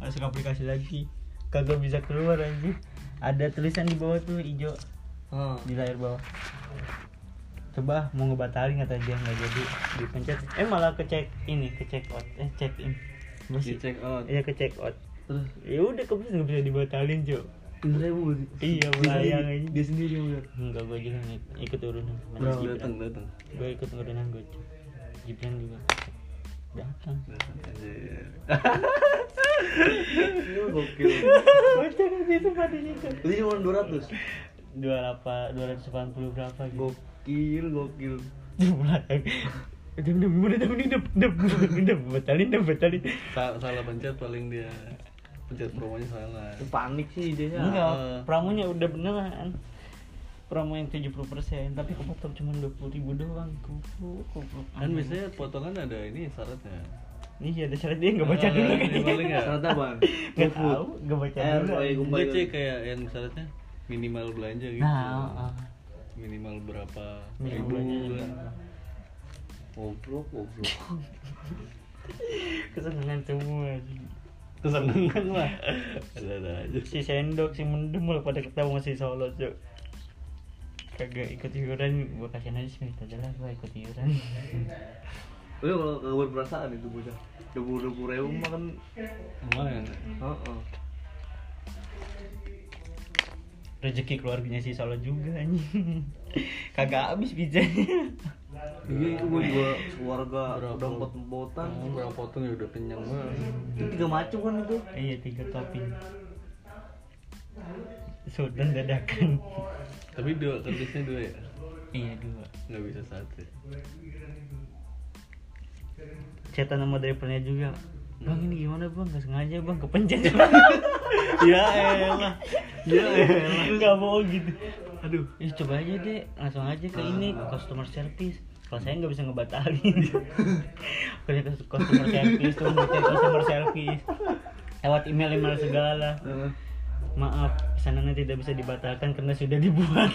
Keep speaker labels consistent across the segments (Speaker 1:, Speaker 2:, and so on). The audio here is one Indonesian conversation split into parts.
Speaker 1: masuk aplikasi lagi kagak bisa keluar anjir ada tulisan di bawah tuh hijau
Speaker 2: Oh.
Speaker 1: di layar bawah coba mau ngebatalin kata dia nggak jadi dipencet eh malah ke check ini ke check out eh check in Apa
Speaker 2: Di
Speaker 1: sih?
Speaker 2: check out.
Speaker 1: ya ke check out
Speaker 2: Terus
Speaker 1: ya udah kebis nggak bisa dibatalin cuy
Speaker 2: Indra yang mau-
Speaker 1: Iya,
Speaker 2: dia
Speaker 1: melayang
Speaker 2: sendiri-
Speaker 1: aja.
Speaker 2: Dia sendiri yang ngeliat.
Speaker 1: enggak gue juga ngik- ikut urunan mana
Speaker 2: Bro,
Speaker 1: Gibran?
Speaker 2: datang, datang.
Speaker 1: gue ikut urunan gue cuy Gibran juga datang
Speaker 2: Datang, anjir.
Speaker 1: Bocah di tempat itu
Speaker 2: Lu cuma 200.
Speaker 1: dua delapan dua ratus delapan puluh berapa gitu
Speaker 2: Gokil, gokil.
Speaker 1: jumlah dem dem udah dem ini dem dem dem batalin dem batalin
Speaker 2: Sa- salah pencet paling dia pencet promonya salah.
Speaker 3: panik sih idenya
Speaker 1: enggak
Speaker 2: eh.
Speaker 1: pramunya udah beneran promo yang 70% tapi kepotong cuma dua puluh ribu doang kupu kupu
Speaker 2: Kan biasanya potongan ada ini syaratnya.
Speaker 1: iya ada syarat dia nggak baca
Speaker 2: Ah,
Speaker 1: dulu
Speaker 2: dia balik
Speaker 1: kayaknya
Speaker 2: ya?
Speaker 3: ternyata bang
Speaker 1: nggak tahu nggak baca
Speaker 2: Iya,
Speaker 3: Eh,
Speaker 2: oh,
Speaker 1: dulu
Speaker 3: Roy, gua-
Speaker 2: Enggak sih kayak yang syaratnya minimal belanja gitu.
Speaker 1: nah ah, ah.
Speaker 2: Minimal berapa
Speaker 1: Minimal
Speaker 2: ribu
Speaker 1: belanja
Speaker 2: kan.
Speaker 1: berapa.
Speaker 2: Goblok, goblok.
Speaker 1: kesenangan semua sih.
Speaker 2: Kesenangan lah. Ada-ada aja.
Speaker 1: si sendok si mendemul pada ketemu si solo cok kagak ikut iuran gua kasihan aja sih aja lah gua ikut iuran
Speaker 3: lu kalau nggak berperasaan itu bocah debu debu reum mah kan
Speaker 2: Lumayan.
Speaker 3: Heeh.
Speaker 1: rezeki keluarganya si solo juga anjing kagak habis bijanya
Speaker 3: iya itu gua juga keluarga
Speaker 2: Berapa?
Speaker 3: udah empot empotan
Speaker 2: Oh, berapa potong ya udah kenyang banget.
Speaker 3: itu tiga macam kan itu
Speaker 1: iya tiga topping Sultan dadakan
Speaker 2: Tapi dua kertasnya dua ya.
Speaker 1: iya dua
Speaker 2: Nggak bisa satu. ya?
Speaker 1: cetak nama drivernya juga bang ini gimana bang gak sengaja bang kepencet
Speaker 2: ya elah. Ya elah.
Speaker 1: nggak mau gitu aduh ya, coba aja deh langsung aja ke ini ke customer service kalau saya nggak bisa ngebatalin kerja ke customer service tuh ngebatalin customer service lewat email email segala maaf pesanannya tidak bisa dibatalkan karena sudah dibuat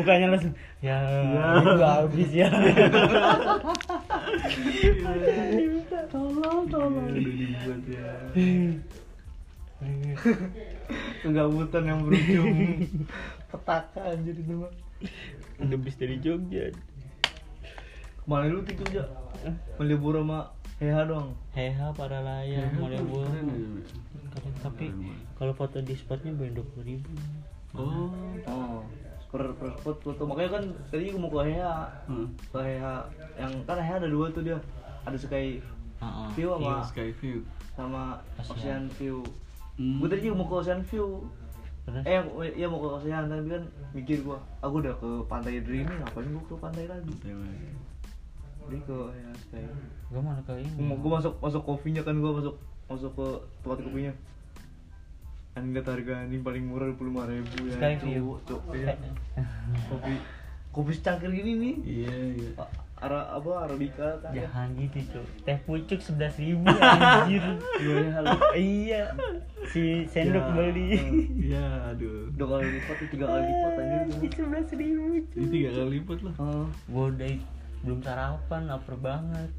Speaker 1: bukannya langsung ya itu habis ya tolong tolong
Speaker 3: udah dibuat ya kegabutan yang berujung petaka anjir itu mah
Speaker 1: lebih dari Jogja
Speaker 3: kemarin lu gitu aja melibur sama Heha doang
Speaker 1: heha para layang Iya, mau
Speaker 2: Keren
Speaker 1: liburan
Speaker 2: ya.
Speaker 1: Keren, tapi kalau foto di spotnya bayar dua puluh ribu
Speaker 2: Oh.
Speaker 3: oh per per spot foto makanya kan tadi gua mau ke Heha
Speaker 2: Hmm.
Speaker 3: ke Heha yang kan Heha ada dua tuh dia ada Sky View
Speaker 2: Iya,
Speaker 3: sama
Speaker 2: Skyview.
Speaker 3: sama
Speaker 1: Ocean.
Speaker 3: Ocean View.
Speaker 2: Hmm.
Speaker 3: Gue tadi juga mau ke Ocean View. Eh, yang- iya mau ke Ocean tapi kan mikir gua, aku udah ke pantai Dreaming, ngapain gua ke pantai lagi? Jadi ke ya, Sky.
Speaker 1: gue mana ke ini
Speaker 3: Gua, gua masuk masuk kopinya kan gua masuk masuk ke tempat kopinya. Anjing liat harga anjing paling murah 25 ribu ya.
Speaker 1: Sky
Speaker 3: cowok,
Speaker 1: View.
Speaker 3: cowok, iya. Kopi kopi secangkir gini nih.
Speaker 2: Iya, iya.
Speaker 3: A- Ara apa Arabica kan. Ya.
Speaker 1: Jangan gitu cok Teh pucuk sebelas ribu anjir
Speaker 3: Gimana lu?
Speaker 1: Iya Si sendok
Speaker 3: Ya.
Speaker 1: beli
Speaker 2: Iya, aduh.
Speaker 3: Dua kali lipat, tiga kali lipat anjir. gua.
Speaker 1: Sebelas ribu
Speaker 2: Ini tiga kali lipat lah.
Speaker 3: Heeh.
Speaker 1: Gue udah belum sarapan lapar banget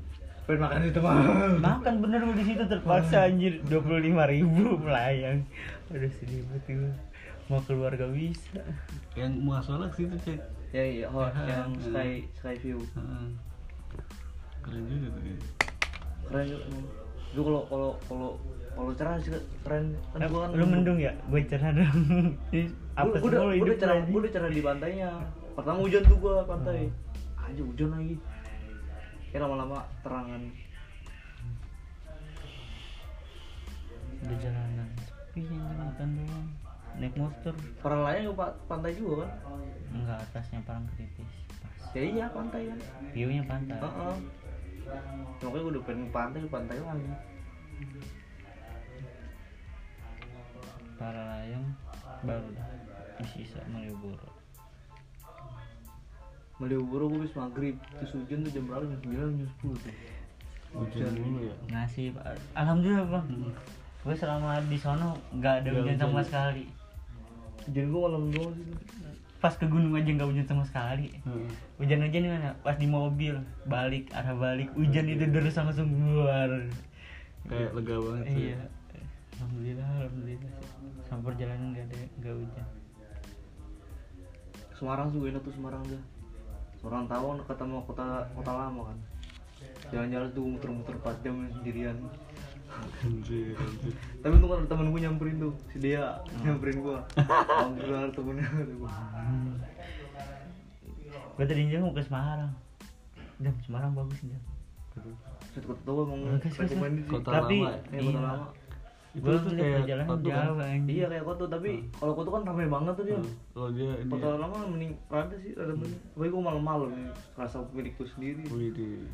Speaker 3: Pengen makan itu mah.
Speaker 1: Makan bener gue disitu terpaksa anjir 25.000 ribu melayang Udah sedih banget gua. Mau keluarga bisa
Speaker 2: Yang masalah situ cek.
Speaker 3: Ya iya, oh,
Speaker 2: Heeh.
Speaker 3: yang Sky Sky View.
Speaker 2: Heeh. Keren juga tuh. ya.
Speaker 3: Keren juga. emang. Itu kalau kalau kalau kalau cerah sih keren. Kan gua kan
Speaker 1: Lu mendung ya? Gue cerah dong Ini Apa
Speaker 3: Gua,
Speaker 1: sih
Speaker 3: gua udah
Speaker 1: lu
Speaker 3: gua udah
Speaker 1: hidup
Speaker 3: cerah,
Speaker 1: lu?
Speaker 3: gua udah cerah di pantainya. Pertama hujan tuh gua pantai. Aja hujan lagi. Ya lama-lama terangan.
Speaker 1: Udah jalanan Sepi anjir makan doang Naik motor
Speaker 3: Orang lain ke pa- pantai juga kan?
Speaker 1: Enggak atasnya parang kritis Pas
Speaker 3: Ya iya pantai kan.
Speaker 1: View-nya pantai
Speaker 3: Heeh. Ya, Makanya gua udah pengen ke pantai, ke pantai lagi.
Speaker 1: para layang baru dah di sisa Malioboro
Speaker 3: Malioboro gua habis maghrib, terus hujan tuh jam berapa? Jam 9, jam 10 tuh.
Speaker 2: Hujan dulu ya.
Speaker 1: ngasih alhamdulillah bang gue selama di sono nggak ada
Speaker 2: Nggak
Speaker 1: hujan sama
Speaker 2: hujan.
Speaker 1: sekali
Speaker 3: Hujan gua malam doang sih.
Speaker 1: pas ke gunung aja nggak hujan sama sekali
Speaker 2: Heeh.
Speaker 1: hujan-hujan di mana pas di mobil balik arah balik hujan itu deras langsung keluar
Speaker 2: Kayak lega banget. tuh.
Speaker 1: iya alhamdulillah alhamdulillah sama perjalanan gak ada gak hujan
Speaker 3: Semarang juga enak tuh Semarang tuh Semarang Tawang ketemu kota kota lama kan jalan-jalan tuh muter-muter 4 jam sendirian
Speaker 2: Anjir, anjir.
Speaker 3: tapi tuh kan ada temen gue nyamperin tuh si dia nyamperin gue alhamdulillah ada temennya kata gua.
Speaker 1: gue tadi jam mau ke Semarang jam Semarang bagus jam
Speaker 3: Set kota tua emang
Speaker 1: Bagus, bagus.
Speaker 3: recommended sih
Speaker 2: Kota
Speaker 1: tapi
Speaker 2: lama
Speaker 3: Iya,
Speaker 1: iya.
Speaker 3: kota lama
Speaker 2: Itu
Speaker 1: Gua
Speaker 2: tuh
Speaker 1: tuh
Speaker 2: kayak
Speaker 1: perjalanan
Speaker 2: Batu kan? Iya.
Speaker 1: jauh anjing.
Speaker 3: iya kayak kota
Speaker 2: Hmm.
Speaker 3: tapi kalau kota kan ramai banget tuh dia
Speaker 2: Kalau dia ini ya,
Speaker 3: kota lama mending rada sih ada
Speaker 2: Hmm.
Speaker 3: banyak tapi gue malam-malam ya. rasa milikku sendiri
Speaker 2: Wih, di-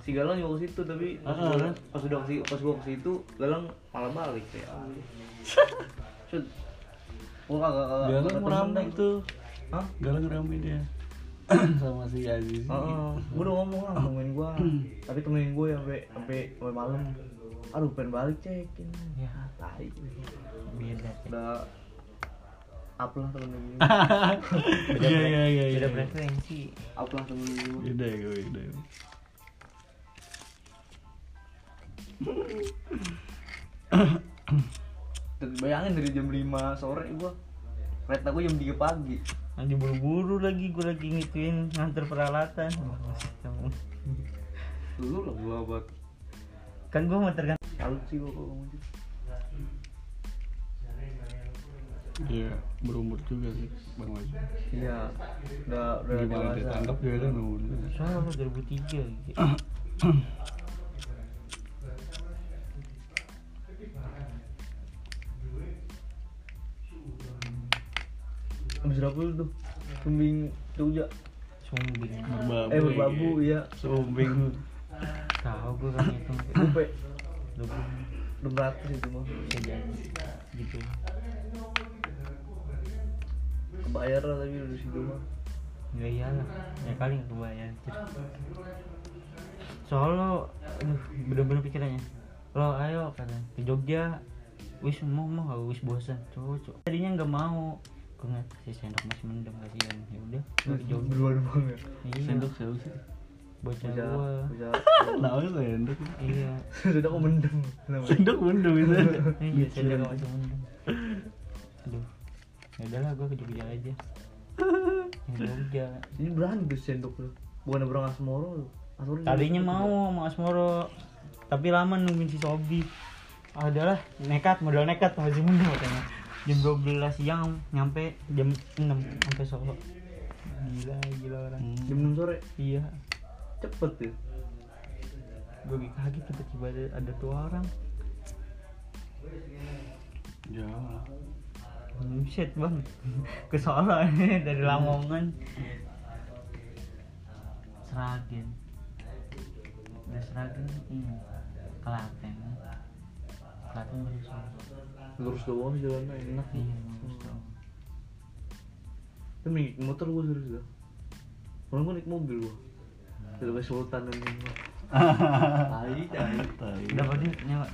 Speaker 3: si Galang juga ke situ tapi pas
Speaker 2: Ah,
Speaker 3: gua-
Speaker 2: kan?
Speaker 3: pas udah ke pas gua ke situ Galang malah balik ya
Speaker 2: Iya.
Speaker 3: Cut. gua kagak kagak
Speaker 2: Galang
Speaker 3: kagak
Speaker 2: ngeramai
Speaker 3: temenan.
Speaker 2: tuh
Speaker 3: Hah?
Speaker 2: Galang ngeramai dia Sama si Aziz
Speaker 3: Heeh, gua udah ngomong lah temenin gua. Tapi temenin gua ya sampai sampai sampai malam. Aduh, pengen balik cek ini.
Speaker 1: Ya.
Speaker 3: Tai.
Speaker 1: beda sih.
Speaker 3: Udah up lah temen gua.
Speaker 2: Iya, iya, iya
Speaker 1: beda
Speaker 2: iya.
Speaker 1: frekuensi
Speaker 3: Up lah temen gua.
Speaker 2: Beda ya, gue, beda ya.
Speaker 3: Dan Bayangin dari jam 5 sore gua. Kereta gua jam 3 pagi.
Speaker 1: nanti buru-buru lagi gue lagi ngituin nganter peralatan
Speaker 3: Dulu lah gua buat
Speaker 1: kan gue mau tergantung
Speaker 3: salut sih gua kalau ngomong gitu.
Speaker 2: Iya, berumur juga sih Bang Wajib
Speaker 3: Iya, udah udah
Speaker 2: Gimana
Speaker 3: dewasa.
Speaker 2: ditangkap juga kan umur
Speaker 1: soalnya apa 2003 gitu.
Speaker 3: Habis berapa lu tuh? Kembing Jogja.
Speaker 1: sumbing
Speaker 2: Berbabu
Speaker 3: Eh berbabu iya.
Speaker 2: Sumbing
Speaker 1: tahu gue kan itu
Speaker 3: Sampai
Speaker 1: 20
Speaker 3: 600 itu mah.
Speaker 1: bisa jadi gitu
Speaker 3: Kebayar lah tapi udah situ mah.
Speaker 1: ya iyalah ya kali nggak kebayang soal lo aduh bener-bener pikirannya lo ayo kata ke Jogja wis mau mau gak wis bosan cocok tadinya nggak mau gue ngeliat si sendok masih mendem kasihan ya udah gua ke Jogja
Speaker 3: Duluan banget.
Speaker 1: iya
Speaker 2: Sendok siapa sih?
Speaker 1: bocah
Speaker 3: Bisa
Speaker 1: gua
Speaker 3: bisa.
Speaker 2: Namanya sendok
Speaker 1: iya
Speaker 3: Sudah kok mendem namanya.
Speaker 2: Sendok bunda bisa
Speaker 1: iya sendok masih mendem aduh ya udahlah gue ke Jogja aja Ya Ke Jogja
Speaker 3: Ini berani tuh sendok lu. Bukan berang Asmoro lu. Asmoro.
Speaker 1: Tadinya mau sama Asmoro, tapi lama nungguin si Sobi. Adalah nekat, modal nekat masih muda katanya. Jam 12 siang nyampe jam 6 sampai Solo. Gila, gila orang.
Speaker 3: jam 6 sore.
Speaker 1: Iya,
Speaker 3: Cepet ya. tuh.
Speaker 1: gue kaget tiba-tiba ada, ada dua orang.
Speaker 2: Jauh lah
Speaker 1: Hmm, Shit bang, ke Solo ini dari Lamongan. Seragen, udah Seragen, hmm. Klaten, Klaten baru Solo.
Speaker 3: Lurus doang sih jalannya enak. ya.
Speaker 1: Iya, bagus dong.
Speaker 3: Tapi naik motor gua serius dah. Orang gua naik mobil gua. Sudah kayak sultan dan ini.
Speaker 1: Ah.
Speaker 3: Tai tai
Speaker 2: Tai.
Speaker 1: Berapa sih nyewa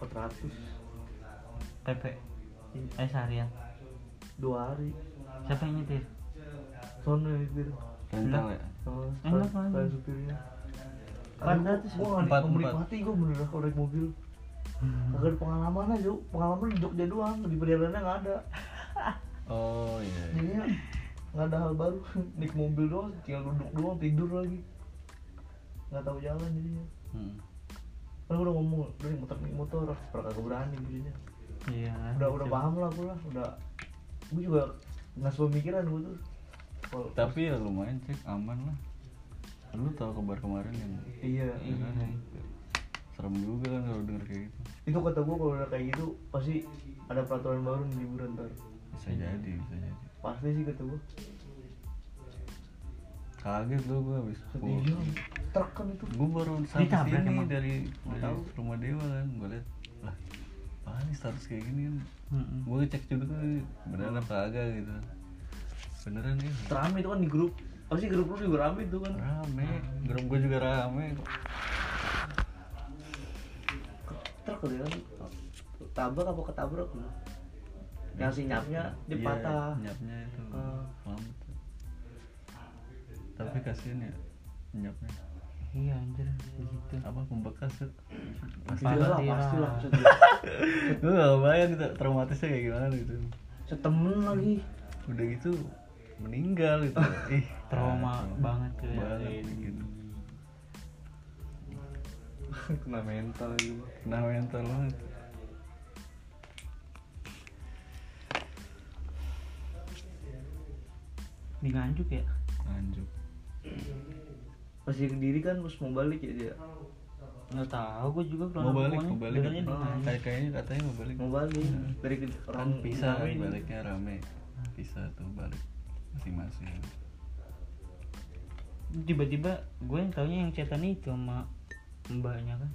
Speaker 3: 400
Speaker 1: PP? Eh seharian.
Speaker 3: dua hari.
Speaker 1: Siapa yang nyetir?
Speaker 3: Sono ya itu.
Speaker 2: Kencang ya?
Speaker 3: Oh,
Speaker 1: Enak kan?
Speaker 3: Kayak supirnya.
Speaker 1: Empat
Speaker 3: Aduh,
Speaker 1: ratus.
Speaker 3: gua nggak
Speaker 2: Empat,
Speaker 3: nih-
Speaker 2: empat.
Speaker 3: menikmati gua bener Hmm. kalau naik mobil. Kagak ada pengalaman aja, pengalaman di Jogja doang, di perjalanannya nggak ada.
Speaker 2: Oh iya
Speaker 3: Jadinya nggak ada hal baru, naik mobil doang, tinggal duduk doang, tidur lagi. Nggak tahu jalan jadinya.
Speaker 2: Hmm.
Speaker 3: Kan gua udah ngomong, udah naik motor, naik motor, pernah kagak berani jadinya.
Speaker 1: Iya.
Speaker 3: Udah udah paham lah gua lah, udah. Gua juga nggak sebuah pemikiran gua tuh. Kalau
Speaker 2: Tapi ya lumayan cek aman lah Lu tau kabar kemarin kan?
Speaker 3: iya,
Speaker 2: Ya kan? Serem juga kan kalau denger kayak gitu
Speaker 3: itu kata gua kalau udah kayak gitu pasti ada peraturan baru nih liburan ntar.
Speaker 2: Bisa jadi, bisa jadi
Speaker 3: Pasti sih kata gua.
Speaker 2: Kaget lu gue abis pulang.
Speaker 3: Iya, truk kan itu.
Speaker 2: gue baru sampai
Speaker 1: Ditabrak
Speaker 2: sini
Speaker 1: emang?
Speaker 2: dari,
Speaker 3: Nggak
Speaker 2: dari
Speaker 3: tahu.
Speaker 2: rumah dewa kan gue liat lah apaan nih status kayak gini kan
Speaker 1: Mm-mm.
Speaker 2: gue ngecek juga tuh beneran apa kagak gitu beneran ya
Speaker 3: Rame itu kan di grup. Apa sih grup lu juga rame itu kan.
Speaker 2: rame grup gue juga rame kok
Speaker 3: Truk kali kan. Tabrak apa ketabrak lu? Yang si nyapnya dia
Speaker 2: Iya,
Speaker 3: patah.
Speaker 2: nyapnya itu
Speaker 3: Ah.
Speaker 2: lama tapi kasihan ya nyapnya
Speaker 1: iya anjir gitu
Speaker 2: apa pembekas ya? Cuk?
Speaker 3: Pastilah,
Speaker 1: Pasti lah.
Speaker 3: Iya, pastilah.
Speaker 2: gue gak bayang gitu traumatisnya kayak gimana gitu
Speaker 3: Setemen lagi.
Speaker 2: udah gitu meninggal gitu ih
Speaker 1: trauma banget tuh ya.
Speaker 2: banget gitu
Speaker 3: Kena mental gitu.
Speaker 2: kena mental banget
Speaker 1: di nganjuk ya
Speaker 2: anjuk
Speaker 3: Pas dia ke diri kan terus mau balik ya dia.
Speaker 1: nggak tahu gue juga
Speaker 2: mau balik mau balik
Speaker 1: dengarnya di mana
Speaker 2: Kayak- kayaknya katanya mau balik
Speaker 3: Mau balik dari ke
Speaker 2: kan
Speaker 3: orang
Speaker 2: pisah kan
Speaker 3: ini.
Speaker 2: baliknya rame pisah tuh balik masing-masing
Speaker 1: tiba-tiba gue yang taunya yang cetan itu sama mbaknya kan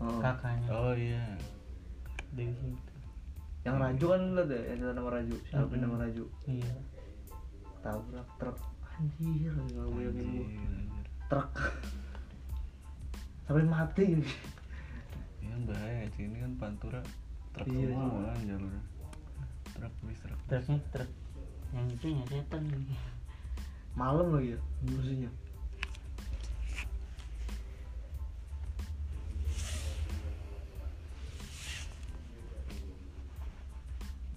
Speaker 3: Oh.
Speaker 1: kakaknya
Speaker 2: oh iya
Speaker 1: dari situ
Speaker 3: Yang Raju kan lu liat ya, yang ada nama Raju.
Speaker 2: Hmm.
Speaker 3: Siapa
Speaker 1: Mm-mm.
Speaker 3: nama Raju?
Speaker 1: iya
Speaker 3: Tabrak truk. Anjir, enggak bayangin
Speaker 2: Anjir,
Speaker 3: gua.
Speaker 2: anjir.
Speaker 3: Truk. Sampai mati.
Speaker 2: Iya bahaya sih ini kan pantura truk
Speaker 3: Iya.
Speaker 2: semua kan jalurnya. Truk bis truk.
Speaker 1: terusnya terus yang itu yang setan lagi
Speaker 3: Malam lagi ya, musuhnya.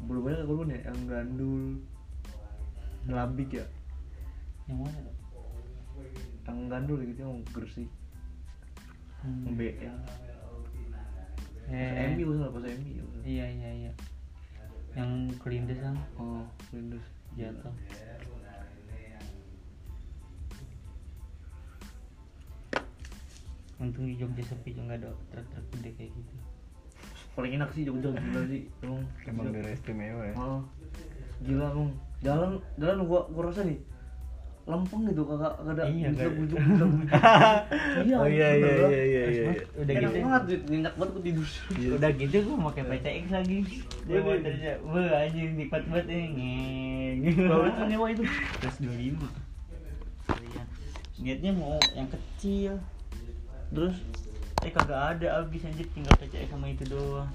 Speaker 3: Belum banyak aku ya, yang gandul Ngelambik ya,
Speaker 1: yang mana dok?
Speaker 3: yang gandul gitu, yang gersik
Speaker 1: Hmm.
Speaker 3: Yang BL Pas
Speaker 1: eh,
Speaker 3: MI gue salah, pas MI ya.
Speaker 1: iya iya iya yang kelindes kan
Speaker 3: Oh, Windows
Speaker 1: jatuh untung di Jogja sepi juga nggak ada truk-truk gede kayak gitu
Speaker 3: Paling enak sih Jogja gila sih Emang
Speaker 2: Emang daerah istimewa ya.
Speaker 3: Oh, gila emang jalan jalan gua gua rasa nih lempeng gitu kakak kagak ada
Speaker 1: Iya,
Speaker 3: bujuk
Speaker 1: kayak-
Speaker 3: bujuk bujuk bujuk.
Speaker 2: Oh iya iya
Speaker 3: bener.
Speaker 2: iya iya
Speaker 1: Terus,
Speaker 2: iya.
Speaker 1: Mas, udah
Speaker 3: enak
Speaker 1: gitu
Speaker 3: banget duit nyenyak banget gua tidur
Speaker 1: udah gitu gue pakai PCX lagi dia
Speaker 3: Iya,
Speaker 1: mau
Speaker 3: iya.
Speaker 1: kerja wah anjing nikmat banget ini ngeng
Speaker 3: baru itu nyewa itu
Speaker 1: terus dua lima niatnya mau yang kecil terus eh kagak ada abis anjir tinggal PCX sama itu doang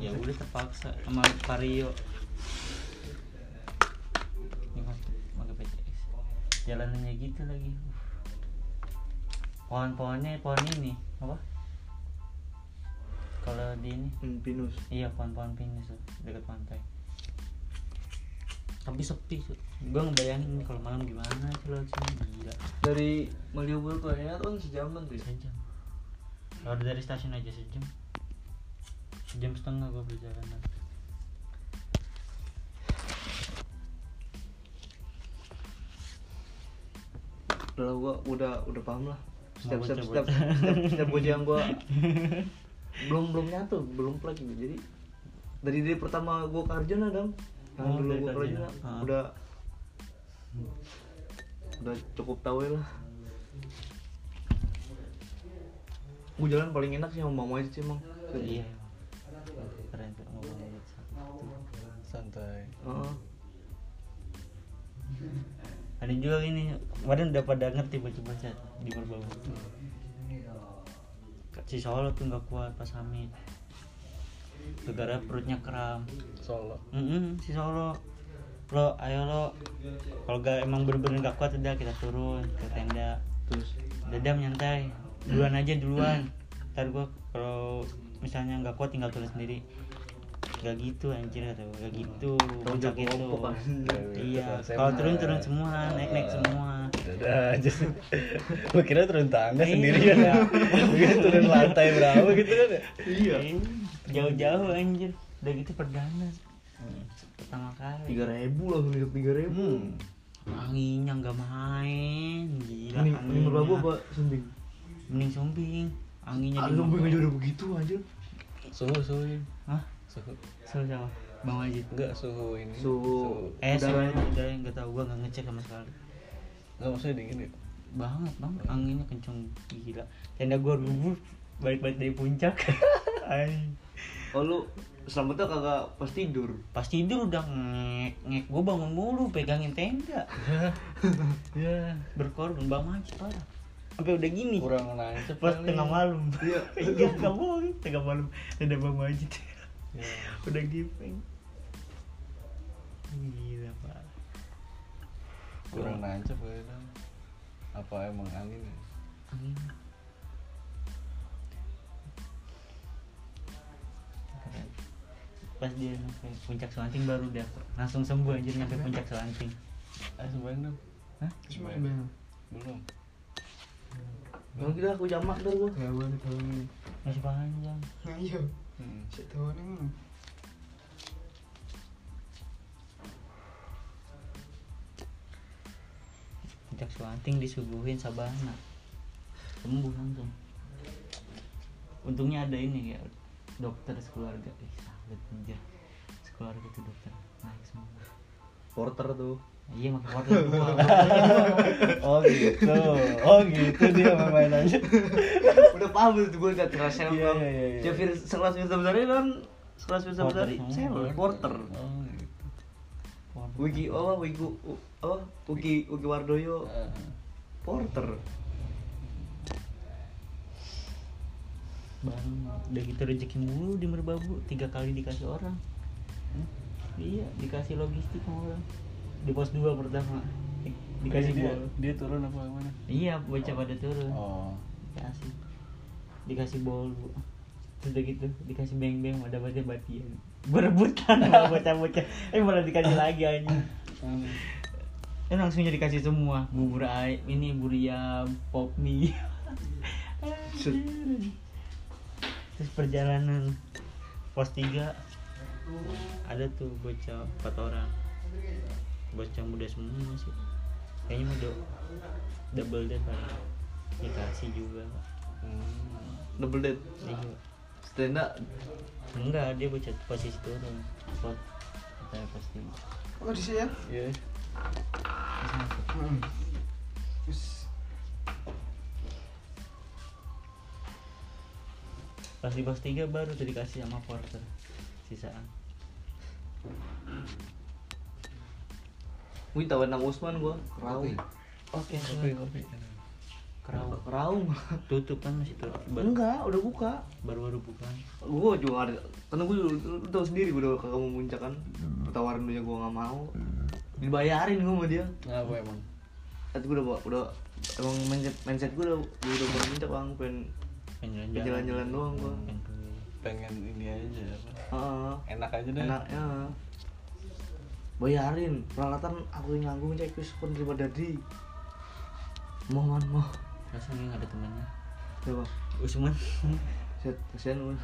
Speaker 1: ya udah terpaksa sama Vario ini pakai pakai PCX jalanannya gitu lagi Uh. pohon-pohonnya pohon ini apa kalau di ini
Speaker 3: hmm, pinus
Speaker 1: Iya pohon-pohon pinus tuh, dekat pantai. Tapi sepi sih. Gue ngebayangin kalau malam gimana sih lo sini gila.
Speaker 3: dari Malioboro ke Hangat kan sejaman tuh ya
Speaker 1: Sejam. Kalau dari stasiun aja sejam. Sejam setengah gue perjalanan.
Speaker 3: udah lah, gua udah udah paham lah
Speaker 1: Mau
Speaker 3: setiap setiap
Speaker 1: bocah-bocah.
Speaker 3: setiap setiap, setiap bocah yang gua belum belum nyatu belum plek gitu jadi dari dari pertama gua ke Arjuna dong yang
Speaker 1: Oh,
Speaker 3: dulu
Speaker 1: dari
Speaker 3: gua ke
Speaker 1: Arjuna.
Speaker 3: Arjuna
Speaker 1: Ah.
Speaker 3: udah udah cukup tahu ya lah gua jalan paling enak sih sama Bang Wajid sih emang
Speaker 1: Iya. Keren tuh ngomongnya.
Speaker 2: Santai.
Speaker 3: Heeh.
Speaker 1: Ada juga ini kemarin udah pada ngerti bocah-bocah di Merbabu. Si Solo tuh nggak kuat pas hamil. Gara-gara perutnya kram.
Speaker 2: Solo.
Speaker 1: Mm-mm, si Solo lo ayo lo kalau gak emang bener-bener gak kuat udah kita turun ke tenda
Speaker 3: terus
Speaker 1: dadam nyantai duluan aja duluan ntar gua kalau misalnya nggak kuat tinggal turun sendiri gak gitu anjir kata gua gak gitu
Speaker 3: Tonjok
Speaker 1: Bocah gitu
Speaker 3: kelompok, anjir.
Speaker 1: iya kalau turun turun semua naik
Speaker 3: Iya.
Speaker 1: naik semua
Speaker 2: Dadah aja sih. Gua kira turun tangga
Speaker 1: Iya.
Speaker 2: sendirian. Gua kira turun lantai berapa gitu kan. ya.
Speaker 3: iya
Speaker 1: Eh, jauh-jauh anjir udah gitu perdana pertama kali
Speaker 3: Hmm. tiga ribu langsung hidup tiga ribu
Speaker 2: Hmm.
Speaker 1: anginnya nggak main gila
Speaker 3: ini ini
Speaker 1: anginnya.
Speaker 3: berlagu apa sending
Speaker 1: mending sombing anginnya
Speaker 3: ada
Speaker 1: di
Speaker 3: zombie Ah, aja
Speaker 1: motor.
Speaker 3: udah begitu aja
Speaker 2: Suhu suhu ini.
Speaker 1: Hah?
Speaker 2: suhu.
Speaker 1: Suruh siapa? Bang Wajid
Speaker 2: Enggak suhu ini.
Speaker 3: Suhu.
Speaker 1: Eh, suruh
Speaker 3: Udaranya.
Speaker 1: udah nggak tahu gua nggak ngecek sama sekali.
Speaker 2: Enggak maksudnya dingin ya.
Speaker 1: Banget bang, anginnya kenceng gila. Tenda gua rubuh balik-balik dari puncak. Ay.
Speaker 3: oh lu selamatnya kagak pas tidur
Speaker 1: Pas tidur udah ngek ngek gua bangun mulu pegangin tenda.
Speaker 2: Ya.
Speaker 1: Berkorban Bang Wajid parah. Sampai udah gini.
Speaker 2: Kurang nancep
Speaker 1: Pas
Speaker 2: kali. ya.
Speaker 1: tengah malam.
Speaker 3: Iya.
Speaker 1: Iya, nggak bohong. Tengah malam ada Bang Wajid.
Speaker 2: Ya.
Speaker 1: udah gipeng. Gila parah.
Speaker 2: kurang nancep kali Dam. apa emang angin ya?
Speaker 1: angin pas dia sampai puncak Selanting baru udah langsung sembuh anjir nyampe puncak Selanting
Speaker 2: Ah, sembayang dong.
Speaker 1: Hah?
Speaker 4: Semuanya.
Speaker 2: Belum.
Speaker 3: Kalau kita aku jamak dah gua.
Speaker 4: Gak boleh tahu ini.
Speaker 1: masih panjang
Speaker 4: Nah, iya.
Speaker 2: Hmm.
Speaker 4: Setahun ini.
Speaker 1: puncak Selanting disuguhin sabana sembuh langsung untungnya ada ini ya dokter sekeluarga ih sahabat anjir sekeluarga tuh dokter naik semua
Speaker 3: Porter tuh.
Speaker 1: iya makin wortel gua
Speaker 3: Oh gitu.
Speaker 1: oh gitu dia main aja
Speaker 3: Udah paham tuh gua enggak terasa
Speaker 1: Iya,
Speaker 3: emang.
Speaker 1: iya, iya, iya.
Speaker 3: Jafir sekelas Mirza Besari kan sekelas Mirza
Speaker 1: Porter
Speaker 3: Besari
Speaker 1: semua.
Speaker 3: sel Porter.
Speaker 2: Iya, Oh, gitu.
Speaker 3: Wiki apa Wiku U- apa Uki Uki Wardoyo
Speaker 2: Ah.
Speaker 3: Porter.
Speaker 1: Bang, udah gitu rezeki mulu di Merbabu tiga kali dikasih orang iya dikasih logistik sama orang di pos dua pertama di- dikasih
Speaker 2: dia,
Speaker 1: gua
Speaker 2: dia turun apa gimana?
Speaker 1: iya bocah pada turun
Speaker 2: Iya, Oh.
Speaker 1: dikasih dikasih bolu terus udah gitu dikasih beng beng ada baca batian berebutan sama bocah-bocah eh malah dikasih lagi anjing
Speaker 2: Hmm.
Speaker 1: eh langsungnya dikasih semua bubur ayam ini buriam pop mie
Speaker 3: Set.
Speaker 1: Anjir. terus perjalanan pos 3 ada tuh bocah empat orang bocah muda semua masih kayaknya muda double date paling dikasih juga
Speaker 3: Double date.
Speaker 1: Iya.
Speaker 3: Stand up.
Speaker 1: enggak dia bocah posisi turun spot katanya pasti
Speaker 4: Oh, di sini ya?
Speaker 2: Iya.
Speaker 1: Terus masuk.
Speaker 4: Heeh. Terus
Speaker 1: pas di pos 3 baru tuh dikasih sama porter sisaan
Speaker 3: Wih tahu nang Usman gua. Raung.
Speaker 1: oke
Speaker 2: Kopi, kopi. ya.
Speaker 1: kerau
Speaker 3: Raung.
Speaker 1: tutup kan masih tutup baru
Speaker 3: Enggak, udah buka.
Speaker 1: baru baru buka
Speaker 3: gue juga ada karena gue tau sendiri gue udah kagak mau puncak kan tawarin dia gue nggak mau dibayarin gue sama dia
Speaker 2: Nah, apa emang?
Speaker 3: tapi gue udah bawa- udah emang mindset mindset gue udah gue udah mau puncak bang pengen
Speaker 1: pengen
Speaker 3: jalan-jalan doang gua
Speaker 1: pengen keliling.
Speaker 2: Pengen ini aja apa?
Speaker 3: Heeh.
Speaker 2: Enak aja deh.
Speaker 3: enaknya bayarin peralatan aku yang nanggung cek wis pun terima dadi mau man mau
Speaker 1: Masa nih nggak ada temannya
Speaker 3: ya bang
Speaker 1: Usman
Speaker 3: set kesian lu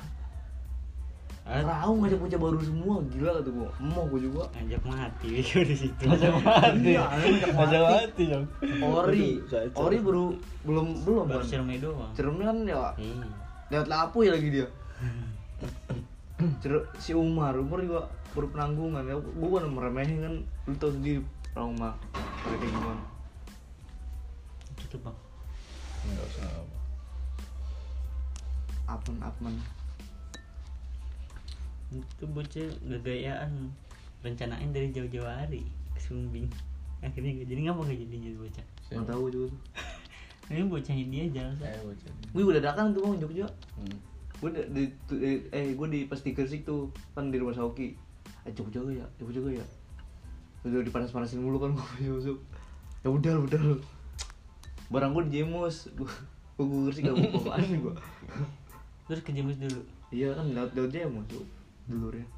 Speaker 1: Ah,
Speaker 3: raung aja puncak baru semua gila tuh gue mau gue juga
Speaker 1: ajak mati gue di situ
Speaker 2: mati.
Speaker 3: Iya, ajak
Speaker 2: Ajak
Speaker 3: mati.
Speaker 2: mati, Jong.
Speaker 3: Ori,
Speaker 2: Kacau.
Speaker 3: Ori baru belum belum
Speaker 1: baru
Speaker 3: kan?
Speaker 1: cermai doang
Speaker 3: Cermin kan ya
Speaker 1: iya
Speaker 3: lewat lapu ya lagi dia. Cer si Umar, Umar juga baru penanggungan ya. Gue kan meremehin kan, lu tau sendiri orang mah kayak gimana.
Speaker 1: tutup bang
Speaker 2: Enggak usah apa.
Speaker 3: Apun apun.
Speaker 1: itu bocah gegayaan rencanain dari jauh-jauh hari ke Sumbing akhirnya nggak jadi ngapa nggak jadi jadi bocah
Speaker 3: Nggak tahu juga. tuh.
Speaker 1: ini bocahnya dia jalsa
Speaker 2: Eh, bocah.
Speaker 3: Gue udah datang tuh bang Jogja.
Speaker 2: Hmm.
Speaker 3: Gue di, di, tu- eh, eh gue di pasti Gresik tuh kan di rumah Saoki. Eh Jogja gue ya, Jogja gue ya. Udah dipanas-panasin mulu kan gue masuk. Ya udah udah. Barang gue di Jemus. Gue gue Gresik gak gue bawa gue.
Speaker 1: terus ke Jembus dulu
Speaker 3: Iya kan laut laut dia masuk dulurnya.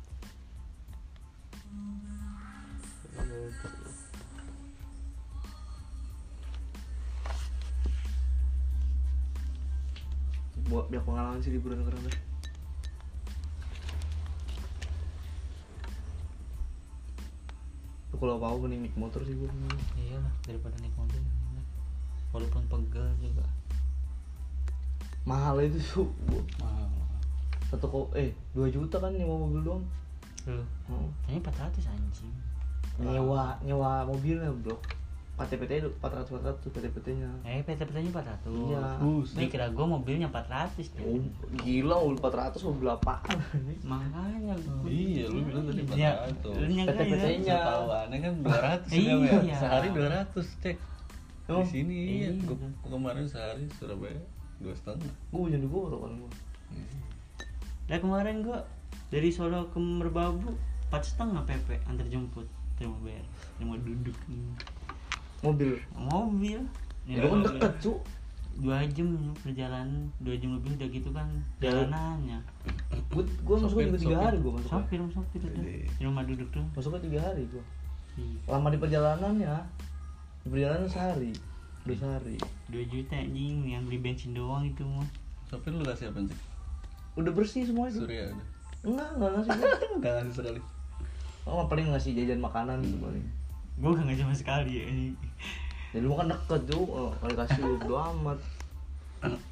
Speaker 3: Buat biar pengalaman sih liburan keren deh. Lu Kalau mau mending naik motor sih gua.
Speaker 1: iyalah daripada naik mobil enak. walaupun pegel juga
Speaker 3: Mahal itu su. Gua-
Speaker 2: Mahal.
Speaker 3: Satu kok eh 2 juta kan nyewa mobil doang.
Speaker 1: lu
Speaker 3: Oh.
Speaker 1: ini 400 anjing
Speaker 3: Nyewa nyewa mobilnya, Bro. KTPT 400 400 KTPT-nya.
Speaker 1: eh PT PT-nya 400
Speaker 3: Iya.
Speaker 1: Nih kira gue mobilnya 400 ya.
Speaker 3: Oh, gila mobil 400 mobil apaan
Speaker 1: Makanya gua-
Speaker 2: Iya, lu bilang tadi
Speaker 1: Iya,
Speaker 2: 400.
Speaker 1: Lu nyangka ya?
Speaker 3: PT-PT -nya.
Speaker 2: Setahuannya kan 200 ya, Bang,
Speaker 1: Iya.
Speaker 2: ya. Sehari 200, cek. Di
Speaker 3: Emang?
Speaker 2: sini iya,
Speaker 1: Iya.
Speaker 2: Gua- gua kemarin sehari Surabaya dua setengah.
Speaker 3: gue punya gue loh kan gue
Speaker 1: Lah kemarin gua dari Solo ke Merbabu empat setengah PP antar jemput terima bayar terima duduk
Speaker 3: mobil
Speaker 1: mobil
Speaker 3: Iya, ya, kan deket cu
Speaker 1: dua jam perjalanan dua jam lebih udah gitu kan jalanannya
Speaker 3: Gue gue masuknya juga
Speaker 2: Sopir,
Speaker 3: tiga
Speaker 2: sopir.
Speaker 3: hari gue masuknya.
Speaker 1: sopir sopir
Speaker 2: Iya.
Speaker 1: udah di rumah duduk tuh
Speaker 3: Masuknya tiga hari gue. Lama di perjalanan ya. Di perjalanan sehari. Dua sehari.
Speaker 1: dua juta anjing yang beli bensin doang itu mah
Speaker 2: Sopir lu kasih apa sih?
Speaker 3: Udah bersih semua itu.
Speaker 2: Surya udah.
Speaker 3: Enggak, enggak ngasih gua.
Speaker 2: Enggak ngasih sekali.
Speaker 3: Oh, paling ngasih jajan makanan gitu paling.
Speaker 1: gue gak ngajak sama sekali anjing
Speaker 3: Dan lu kan deket tuh, oh, kalau kasih lu berdua amat.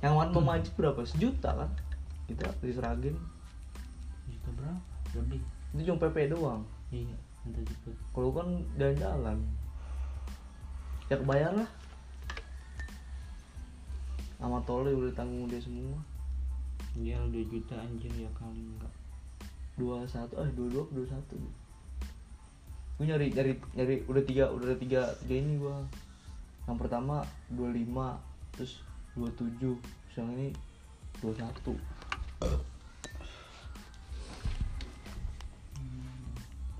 Speaker 3: Yang makan mama Haji berapa? Sejuta kan? Kita di Seragen.
Speaker 1: juta berapa lebih
Speaker 3: Itu cuma PP doang.
Speaker 1: iya entah cepet
Speaker 3: Kalau kan jalan-jalan. Ya kebayar lah. Sama tole udah tanggung dia semua.
Speaker 1: iya dua juta anjir ya kali enggak
Speaker 3: dua satu eh dua dua dua satu gue nyari nyari nyari udah tiga udah ada tiga tiga ini gue yang pertama dua lima terus dua tujuh yang ini dua satu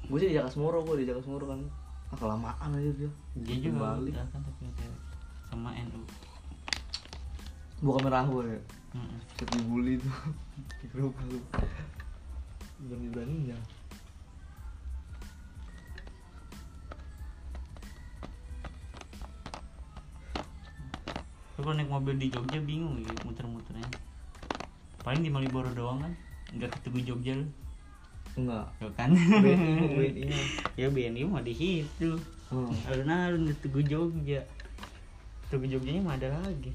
Speaker 3: gue sih di Jakasmoro gue di Jakasmoro kan ah, kelamaan aja dia
Speaker 1: dia juga
Speaker 3: balik
Speaker 1: udah kan tapi OTW. sama NU
Speaker 3: bukan merah gue ya
Speaker 1: Mm-mm.
Speaker 3: Cepet dibully tuh di grup lu bukan diberaninya
Speaker 1: Lu kalau naik mobil di Jogja bingung ya muter-muternya paling di Malioboro doang kan nggak ke Tugu Jogja lu
Speaker 3: enggak
Speaker 1: Tuh kan
Speaker 3: BNI BNI
Speaker 1: ya BNI mah di situ
Speaker 3: hmm.
Speaker 1: alun-alun di Tugu Jogja Tugu Jogjanya mah ada lagi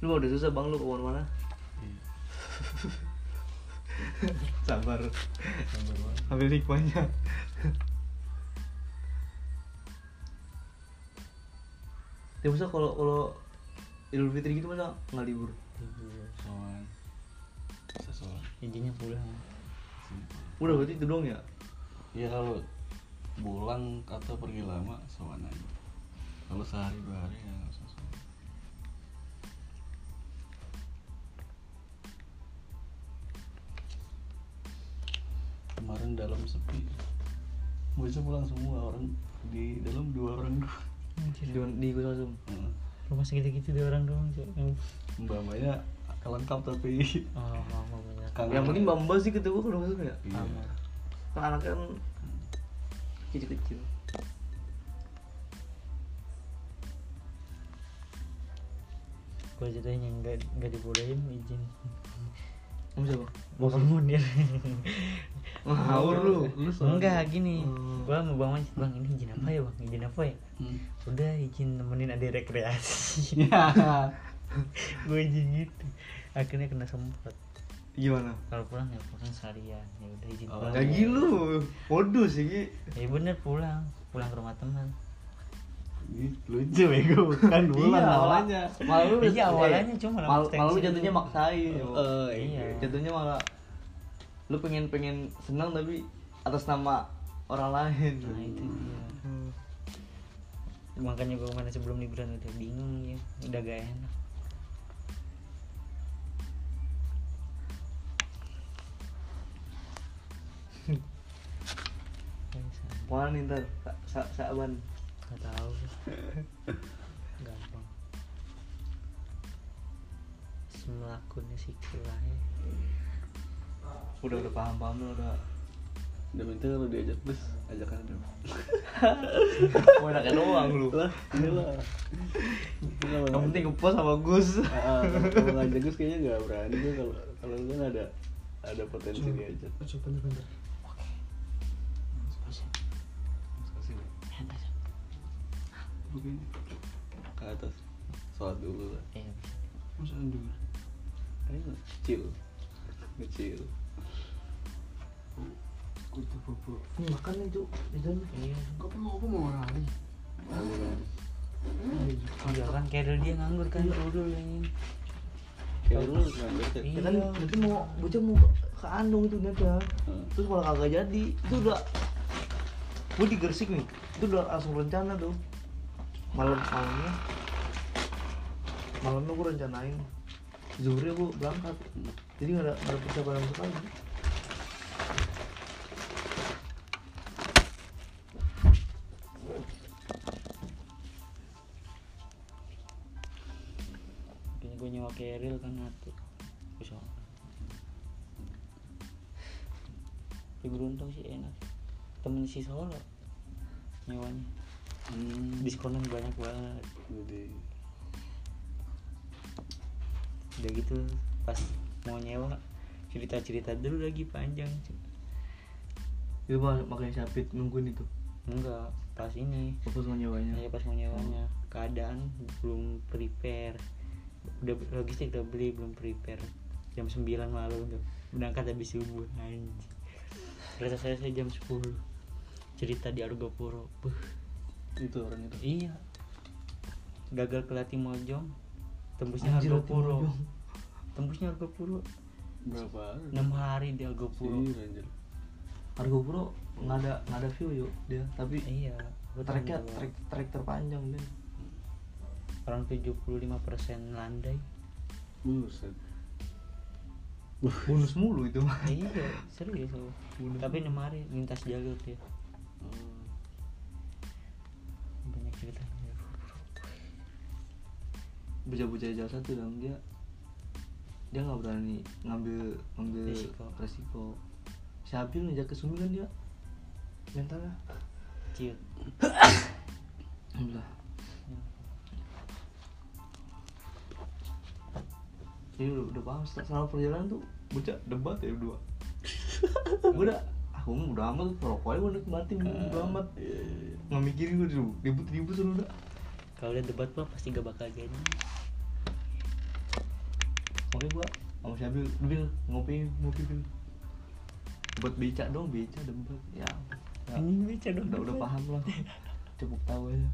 Speaker 3: lu mah udah susah bang lu kemana-mana Iya. sabar
Speaker 2: Sabar banget.
Speaker 3: ambil hikmahnya ya masa kalau kalau Idul Fitri gitu masa nggak libur
Speaker 2: Soan. Sesoan.
Speaker 1: intinya pulang
Speaker 3: udah berarti itu dong ya
Speaker 2: Iya kalau pulang atau pergi lama soan aja. Kalau sehari dua hari ya nggak usah soan. Kemarin dalam sepi. Bocah pulang semua orang di dalam dua orang doang.
Speaker 3: di, di gue langsung
Speaker 2: Heeh.
Speaker 1: rumah sakit gitu dua orang doang cuy yang
Speaker 2: Mbak Maya lengkap tapi
Speaker 1: oh mau mau banyak
Speaker 2: kangen.
Speaker 3: yang penting Ya, bamba sih ketemu kalau masuk ya
Speaker 2: Iya.
Speaker 3: kan anaknya kan kecil-kecil
Speaker 1: gue ceritanya nggak nggak dibolehin izin
Speaker 3: kamu siapa
Speaker 1: mau mundir
Speaker 3: ngawur lu
Speaker 2: Lu soal-
Speaker 1: enggak gini
Speaker 3: Hmm.
Speaker 1: gua mau bang Mancit, bang ini izin apa ya bang izin apa ya
Speaker 2: Hmm.
Speaker 1: udah izin nemenin ada rekreasi
Speaker 3: Iya.
Speaker 2: Ya.
Speaker 1: gue izin gitu akhirnya kena semprot
Speaker 3: gimana
Speaker 1: kalau pulang ya pulang seharian ya udah izin
Speaker 2: Oh,
Speaker 1: pulang
Speaker 3: lagi lu modus ya Ki.
Speaker 1: ya bener pulang pulang ke rumah teman
Speaker 2: Ih, lucu ya gue bukan bulan
Speaker 3: Iya,
Speaker 2: awalnya
Speaker 3: malah lu
Speaker 1: Iya, awalnya cuma
Speaker 3: mal,
Speaker 1: dapat
Speaker 3: malah lu
Speaker 1: tensi
Speaker 3: jatuhnya
Speaker 1: doang.
Speaker 3: maksain yo.
Speaker 2: Eh,
Speaker 1: iya.
Speaker 3: jatuhnya malah lu pengen pengen senang tapi atas nama orang lain
Speaker 1: nah itu dia
Speaker 3: Hmm.
Speaker 4: eh,
Speaker 1: makanya gue kemarin sebelum liburan udah bingung ya udah gak enak
Speaker 3: Kemana nih ntar Sa Saban
Speaker 1: Gak tahu Gampang Semelakunnya sih ya
Speaker 3: udah udah paham paham lu udah
Speaker 2: udah minta lu diajak bus ajakan dong
Speaker 3: mau enaknya doang lu
Speaker 2: lah ini lah
Speaker 3: yang penting ke pos sama Gus
Speaker 2: Ah, ah, kalau- kalau ngajak gus kayaknya nggak berani gue kalau kalau lu kan ada ada potensi diajak
Speaker 4: Aduh, bentar-bentar.
Speaker 2: kasih deh.
Speaker 4: Oke.
Speaker 2: ke atas sholat dulu lah
Speaker 1: Iya
Speaker 4: Masa anjing?
Speaker 2: ini kecil kecil
Speaker 4: Kutu bobo.
Speaker 3: Nih, makan nih cuk di dalam
Speaker 1: Iya
Speaker 4: Kok mau apa mau lari?
Speaker 2: kan.
Speaker 1: Iya kan Carol dia nganggur kan dulu ini
Speaker 2: kayak lu ngambil cek
Speaker 3: ya kan
Speaker 1: Iya.
Speaker 3: berarti mau bocah mau ke Andong itu nada
Speaker 2: Hmm.
Speaker 3: terus malah kagak jadi itu udah gue di Gresik nih itu udah langsung rencana tuh malam malamnya malamnya gue rencanain zuhur gue berangkat jadi nggak ada nggak ada persiapan sama sekali
Speaker 1: nyawa keril kan atuh bisa tapi beruntung sih enak temen si solo nyawanya
Speaker 2: Hmm,
Speaker 1: diskonan banyak banget
Speaker 2: jadi
Speaker 1: udah gitu pas mau nyewa cerita cerita dulu lagi panjang
Speaker 3: itu mah makanya sapit nungguin itu
Speaker 1: enggak pas ini
Speaker 3: fokus sama nyawanya
Speaker 1: Iya pas mau nyewanya keadaan belum prepare udah logistik udah beli belum prepare jam 9 malam udah berangkat habis subuh anjing kereta saya saya jam 10 cerita di Argopuro Buh,
Speaker 2: itu orang itu.
Speaker 1: iya gagal ke Lati Mojong tembusnya
Speaker 3: Anjir,
Speaker 1: Argopuro
Speaker 3: Latimojong.
Speaker 1: tembusnya Argopuro
Speaker 2: Berapa hari?
Speaker 1: 6 hari di Argopuro
Speaker 2: Iya, anjir.
Speaker 3: Argo Puro nggak ada nggak ada view yuk dia tapi
Speaker 1: iya gua
Speaker 3: treknya
Speaker 1: tanggung jawab.
Speaker 3: trek trek terpanjang dia
Speaker 1: orang 75% landai
Speaker 2: Buset.
Speaker 3: bonus mulu itu mah
Speaker 1: iya serius loh
Speaker 3: Bener.
Speaker 1: tapi enam hari lintas jalur tuh ya.
Speaker 2: Hmm.
Speaker 1: banyak cerita kan, ya.
Speaker 3: bocah-bocah jalan satu dong dia dia nggak berani ngambil ngambil
Speaker 1: Risiko.
Speaker 3: resiko, si Habil ngejak ke Sumi kan dia mentalnya
Speaker 1: ciut
Speaker 3: alhamdulillah
Speaker 1: Ya.
Speaker 3: jadi udah, udah paham setelah selama perjalanan tuh bocah debat ya berdua gue udah aku mah udah amat rokoknya gue nikmatin udah amat
Speaker 2: Iya, iya, iya.
Speaker 3: nggak mikirin gue dulu ribut-ribut terus udah
Speaker 1: kalau udah debat mah pasti gak bakal jadi
Speaker 3: makanya gue sama si Habil Bil ngopi ngopi Bil buat becak dong becak debat ya ampun.
Speaker 1: ini bicara
Speaker 3: udah udah paham lah cukup tahu aja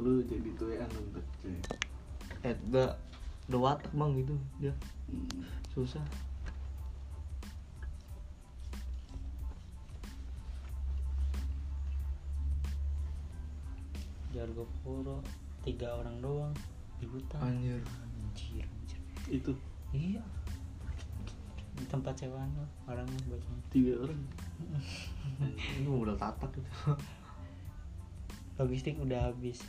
Speaker 2: Lu jadi tuh ya anong tuh.
Speaker 3: eh udah udah watak bang gitu dia susah
Speaker 1: jargo puro tiga orang doang di hutan
Speaker 3: anjir
Speaker 1: anjir anjir
Speaker 2: Itu
Speaker 1: iya di tempat sewaan lah orang bacanya
Speaker 2: tiga orang.
Speaker 3: ini udah tatak gitu
Speaker 1: logistik udah habis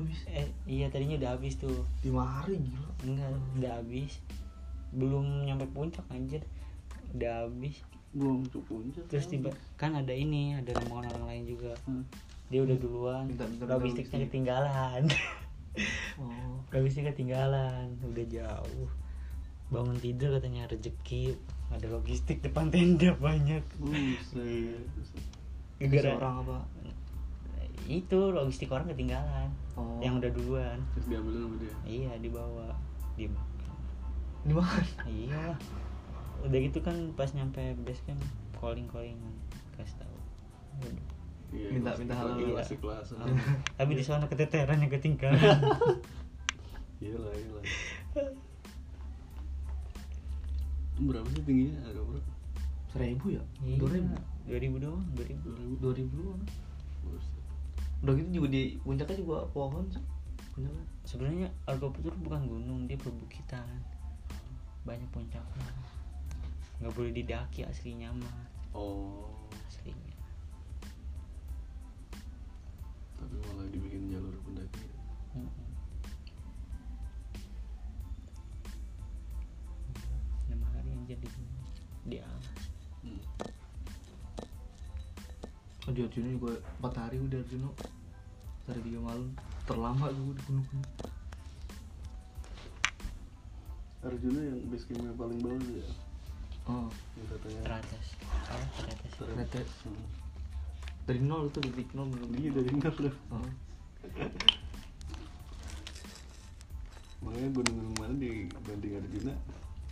Speaker 3: habis
Speaker 1: eh iya tadinya udah habis tuh
Speaker 3: lima hari gila
Speaker 1: enggak udah habis belum nyampe puncak anjir udah habis
Speaker 2: Belum ke puncak.
Speaker 1: terus tiba kan ada ini ada rombongan orang lain juga dia udah duluan
Speaker 3: Hmm. Bentar, bentar, bentar,
Speaker 1: logistiknya
Speaker 3: logistik.
Speaker 1: ketinggalan
Speaker 3: oh
Speaker 1: logistiknya ketinggalan udah jauh bangun tidur katanya rezeki ada logistik depan tenda banyak
Speaker 2: Buset.
Speaker 1: gara
Speaker 3: orang apa
Speaker 1: itu logistik orang ketinggalan
Speaker 3: Oh.
Speaker 1: yang udah duluan
Speaker 2: Terus diambil sama dia.
Speaker 1: iya dibawa dimakan
Speaker 3: dimakan
Speaker 1: iya udah gitu kan pas nyampe base camp calling calling kasih tahu Udah.
Speaker 2: Iya,
Speaker 3: Minta-
Speaker 2: kelas-
Speaker 3: minta halal.
Speaker 1: Iya.
Speaker 2: iya, Masih kelas.
Speaker 1: tapi
Speaker 3: Iya.
Speaker 1: di sana keteteran yang ketinggalan
Speaker 2: Iya lah, iya lah. Berapa sih tingginya? Agak berapa?
Speaker 3: seribu ya
Speaker 1: Iya,
Speaker 3: dua ribu
Speaker 1: 2000 doang 2000
Speaker 3: dua ribu doang
Speaker 2: Buset.
Speaker 3: udah gitu juga di puncaknya juga pohon sih puncaknya
Speaker 1: sebenarnya Argoputur bukan gunung dia perbukitan banyak puncaknya nggak boleh didaki aslinya mah
Speaker 2: Oh,
Speaker 1: aslinya
Speaker 2: tapi malah dibikin jalur pendaki.
Speaker 1: Mm-mm. enam hari yang jadi di alas
Speaker 2: Hmm.
Speaker 3: Oh, di Arjuna juga empat hari udah Arjuna dari tiga malam terlama gue di gunung gunung
Speaker 2: Arjuna yang base campnya paling bawah ya?
Speaker 3: oh
Speaker 2: Yang katanya
Speaker 1: teratas apa teratas
Speaker 3: ternyata
Speaker 2: Hmm.
Speaker 3: dari nol tuh titik nol belum
Speaker 2: Iya dari nol loh.
Speaker 3: oh.
Speaker 2: Makanya gunung-gunung mana dibanding Arjuna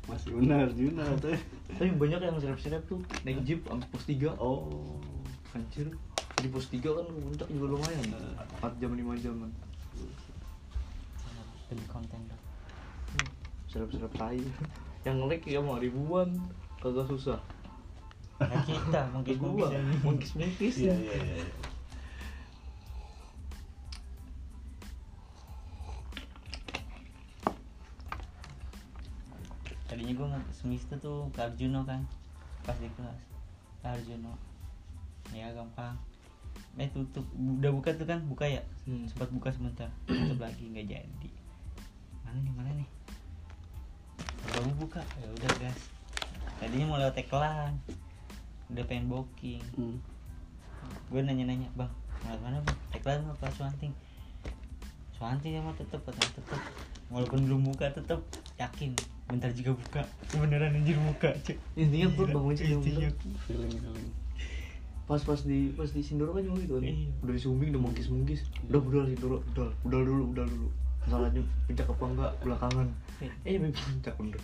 Speaker 2: masih benar Arjuna teh.
Speaker 3: tapi banyak yang serap-serap tuh naik jeep sampai pos tiga
Speaker 2: Oh,
Speaker 3: anjir di pos tiga kan ke puncak juga lumayan empat jam lima jam kan
Speaker 1: demi konten dong
Speaker 3: serap-serap tai yang ngelik ya mau ribuan kagak susah
Speaker 1: nah, kita mungkin
Speaker 3: gua mungkis-mungkis
Speaker 2: iya iya iya.
Speaker 1: tadinya gue semester tuh ke Arjuno kan pas di kelas ke Arjuno ya gampang eh tutup udah buka tuh kan buka ya
Speaker 3: Hmm.
Speaker 1: sempat buka sebentar tutup lagi nggak jadi mana nih mana nih baru buka ya udah gas tadinya mau lewat tekelan udah pengen booking
Speaker 2: Hmm.
Speaker 1: gue nanya-nanya bang mau lewat mana bang tekelan apa suanting suanting emang tetep tetep tetep walaupun belum buka tetep yakin bentar juga buka beneran anjir buka cek
Speaker 3: Intinya perut bangun sih, yang bener.
Speaker 2: Feeling feeling.
Speaker 3: pas pas di pas di sindoro kan juga gitu kan
Speaker 1: Iya.
Speaker 3: udah disumbing udah mungkis mungkis udah udah sindoro udah udah dulu udah dulu masalahnya puncak apa enggak belakangan eh
Speaker 1: Iya.
Speaker 3: sampai puncak bener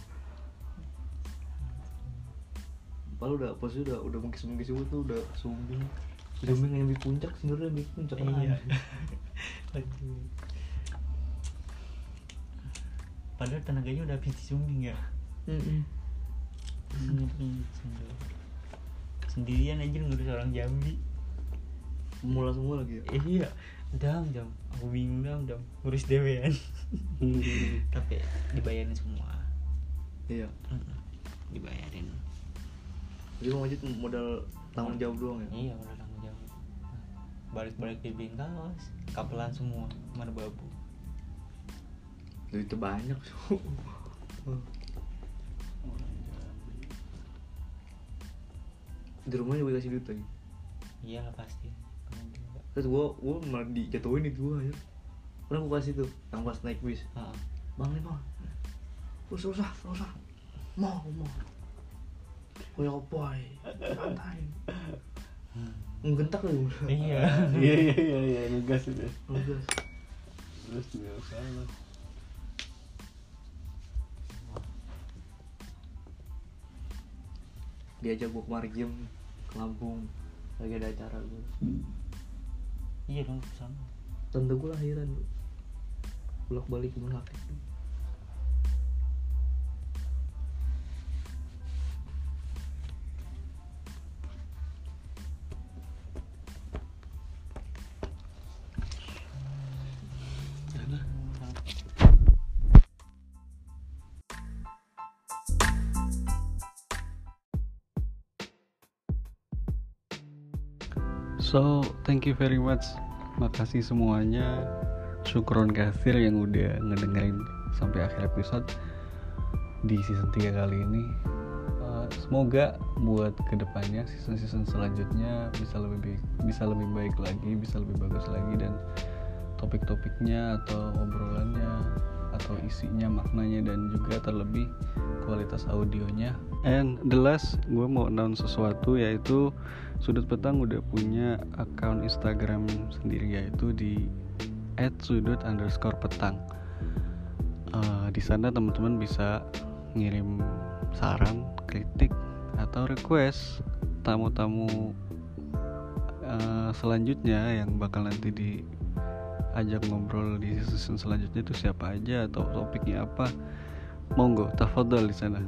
Speaker 3: Padahal udah pas udah udah mungkis mungkis itu tuh udah sumbing sumbing yang di puncak sindoro yang di puncak
Speaker 1: Iya. Aduh. Padahal tenaganya udah habis disumbing ya.
Speaker 3: Mm-mm. Hmm.
Speaker 1: Sendirian aja ngurus orang Jambi.
Speaker 3: mula semua lagi ya
Speaker 1: Eh, iya. Dam, dam. Aku bingung dam, dam. Ngurus dewean. kan. Tapi dibayarin semua.
Speaker 3: iya
Speaker 1: Mm-mm. Dibayarin.
Speaker 3: jadi mau lanjut modal tanggung jawab doang ya
Speaker 1: Iya, udah tanggung jawab. Nah, Balik-balik di bengkaos, kapelan semua, mana babu.
Speaker 3: duitnya banyak so
Speaker 1: Mm.
Speaker 2: Orang Jambi.
Speaker 3: di rumah juga dikasih duit lagi
Speaker 1: Iyalah pasti. Kamu juga.
Speaker 3: terus gua gua malah dijatuhin itu gua ya udah gua kasih tuh yang pas naik bis
Speaker 1: Ah,
Speaker 3: bang nih bang usah usah usah mau mau gue boy santai menggentak lu
Speaker 1: Iya.
Speaker 2: Iya iya iya iya ngegas itu.
Speaker 3: udah
Speaker 2: Terus dia salah.
Speaker 3: diajak gua kemari game ke Lampung lagi ada acara gua
Speaker 1: Iya dong ke sana.
Speaker 3: tante gua lahiran lu bolak balik gua sakit
Speaker 2: So, thank you very much. Makasih semuanya. Syukron kasir yang udah ngedengerin sampai akhir episode di season 3 kali ini. Uh, semoga buat kedepannya season-season selanjutnya bisa lebih baik, bisa lebih baik lagi, bisa lebih bagus lagi dan topik-topiknya atau obrolannya atau isinya, maknanya dan juga terlebih kualitas audionya. And the last, gue mau announce sesuatu yaitu Sudut Petang udah punya akun Instagram sendiri yaitu di @sudut underscore petang. Eh, di sana teman-teman bisa ngirim saran, kritik, atau request tamu-tamu eh, selanjutnya yang bakal nanti diajak ngobrol di season selanjutnya itu siapa aja atau topiknya apa. Monggo, tafadhol di sana.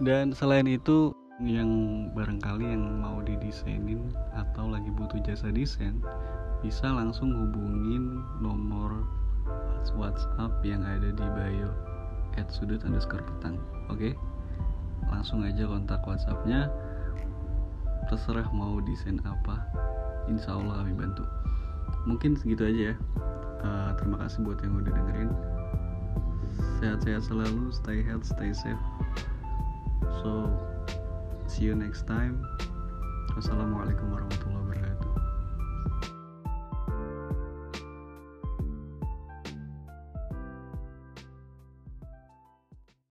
Speaker 2: Dan selain itu yang barangkali yang mau didesainin atau lagi butuh jasa desain bisa langsung hubungin nomor WhatsApp yang ada di bio at sudut underscore petang oke langsung aja kontak WhatsAppnya terserah mau desain apa insya Allah kami bantu mungkin segitu aja ya Eh, terima kasih buat yang udah dengerin sehat-sehat selalu stay health stay safe so See you next time. Wassalamualaikum warahmatullahi wabarakatuh.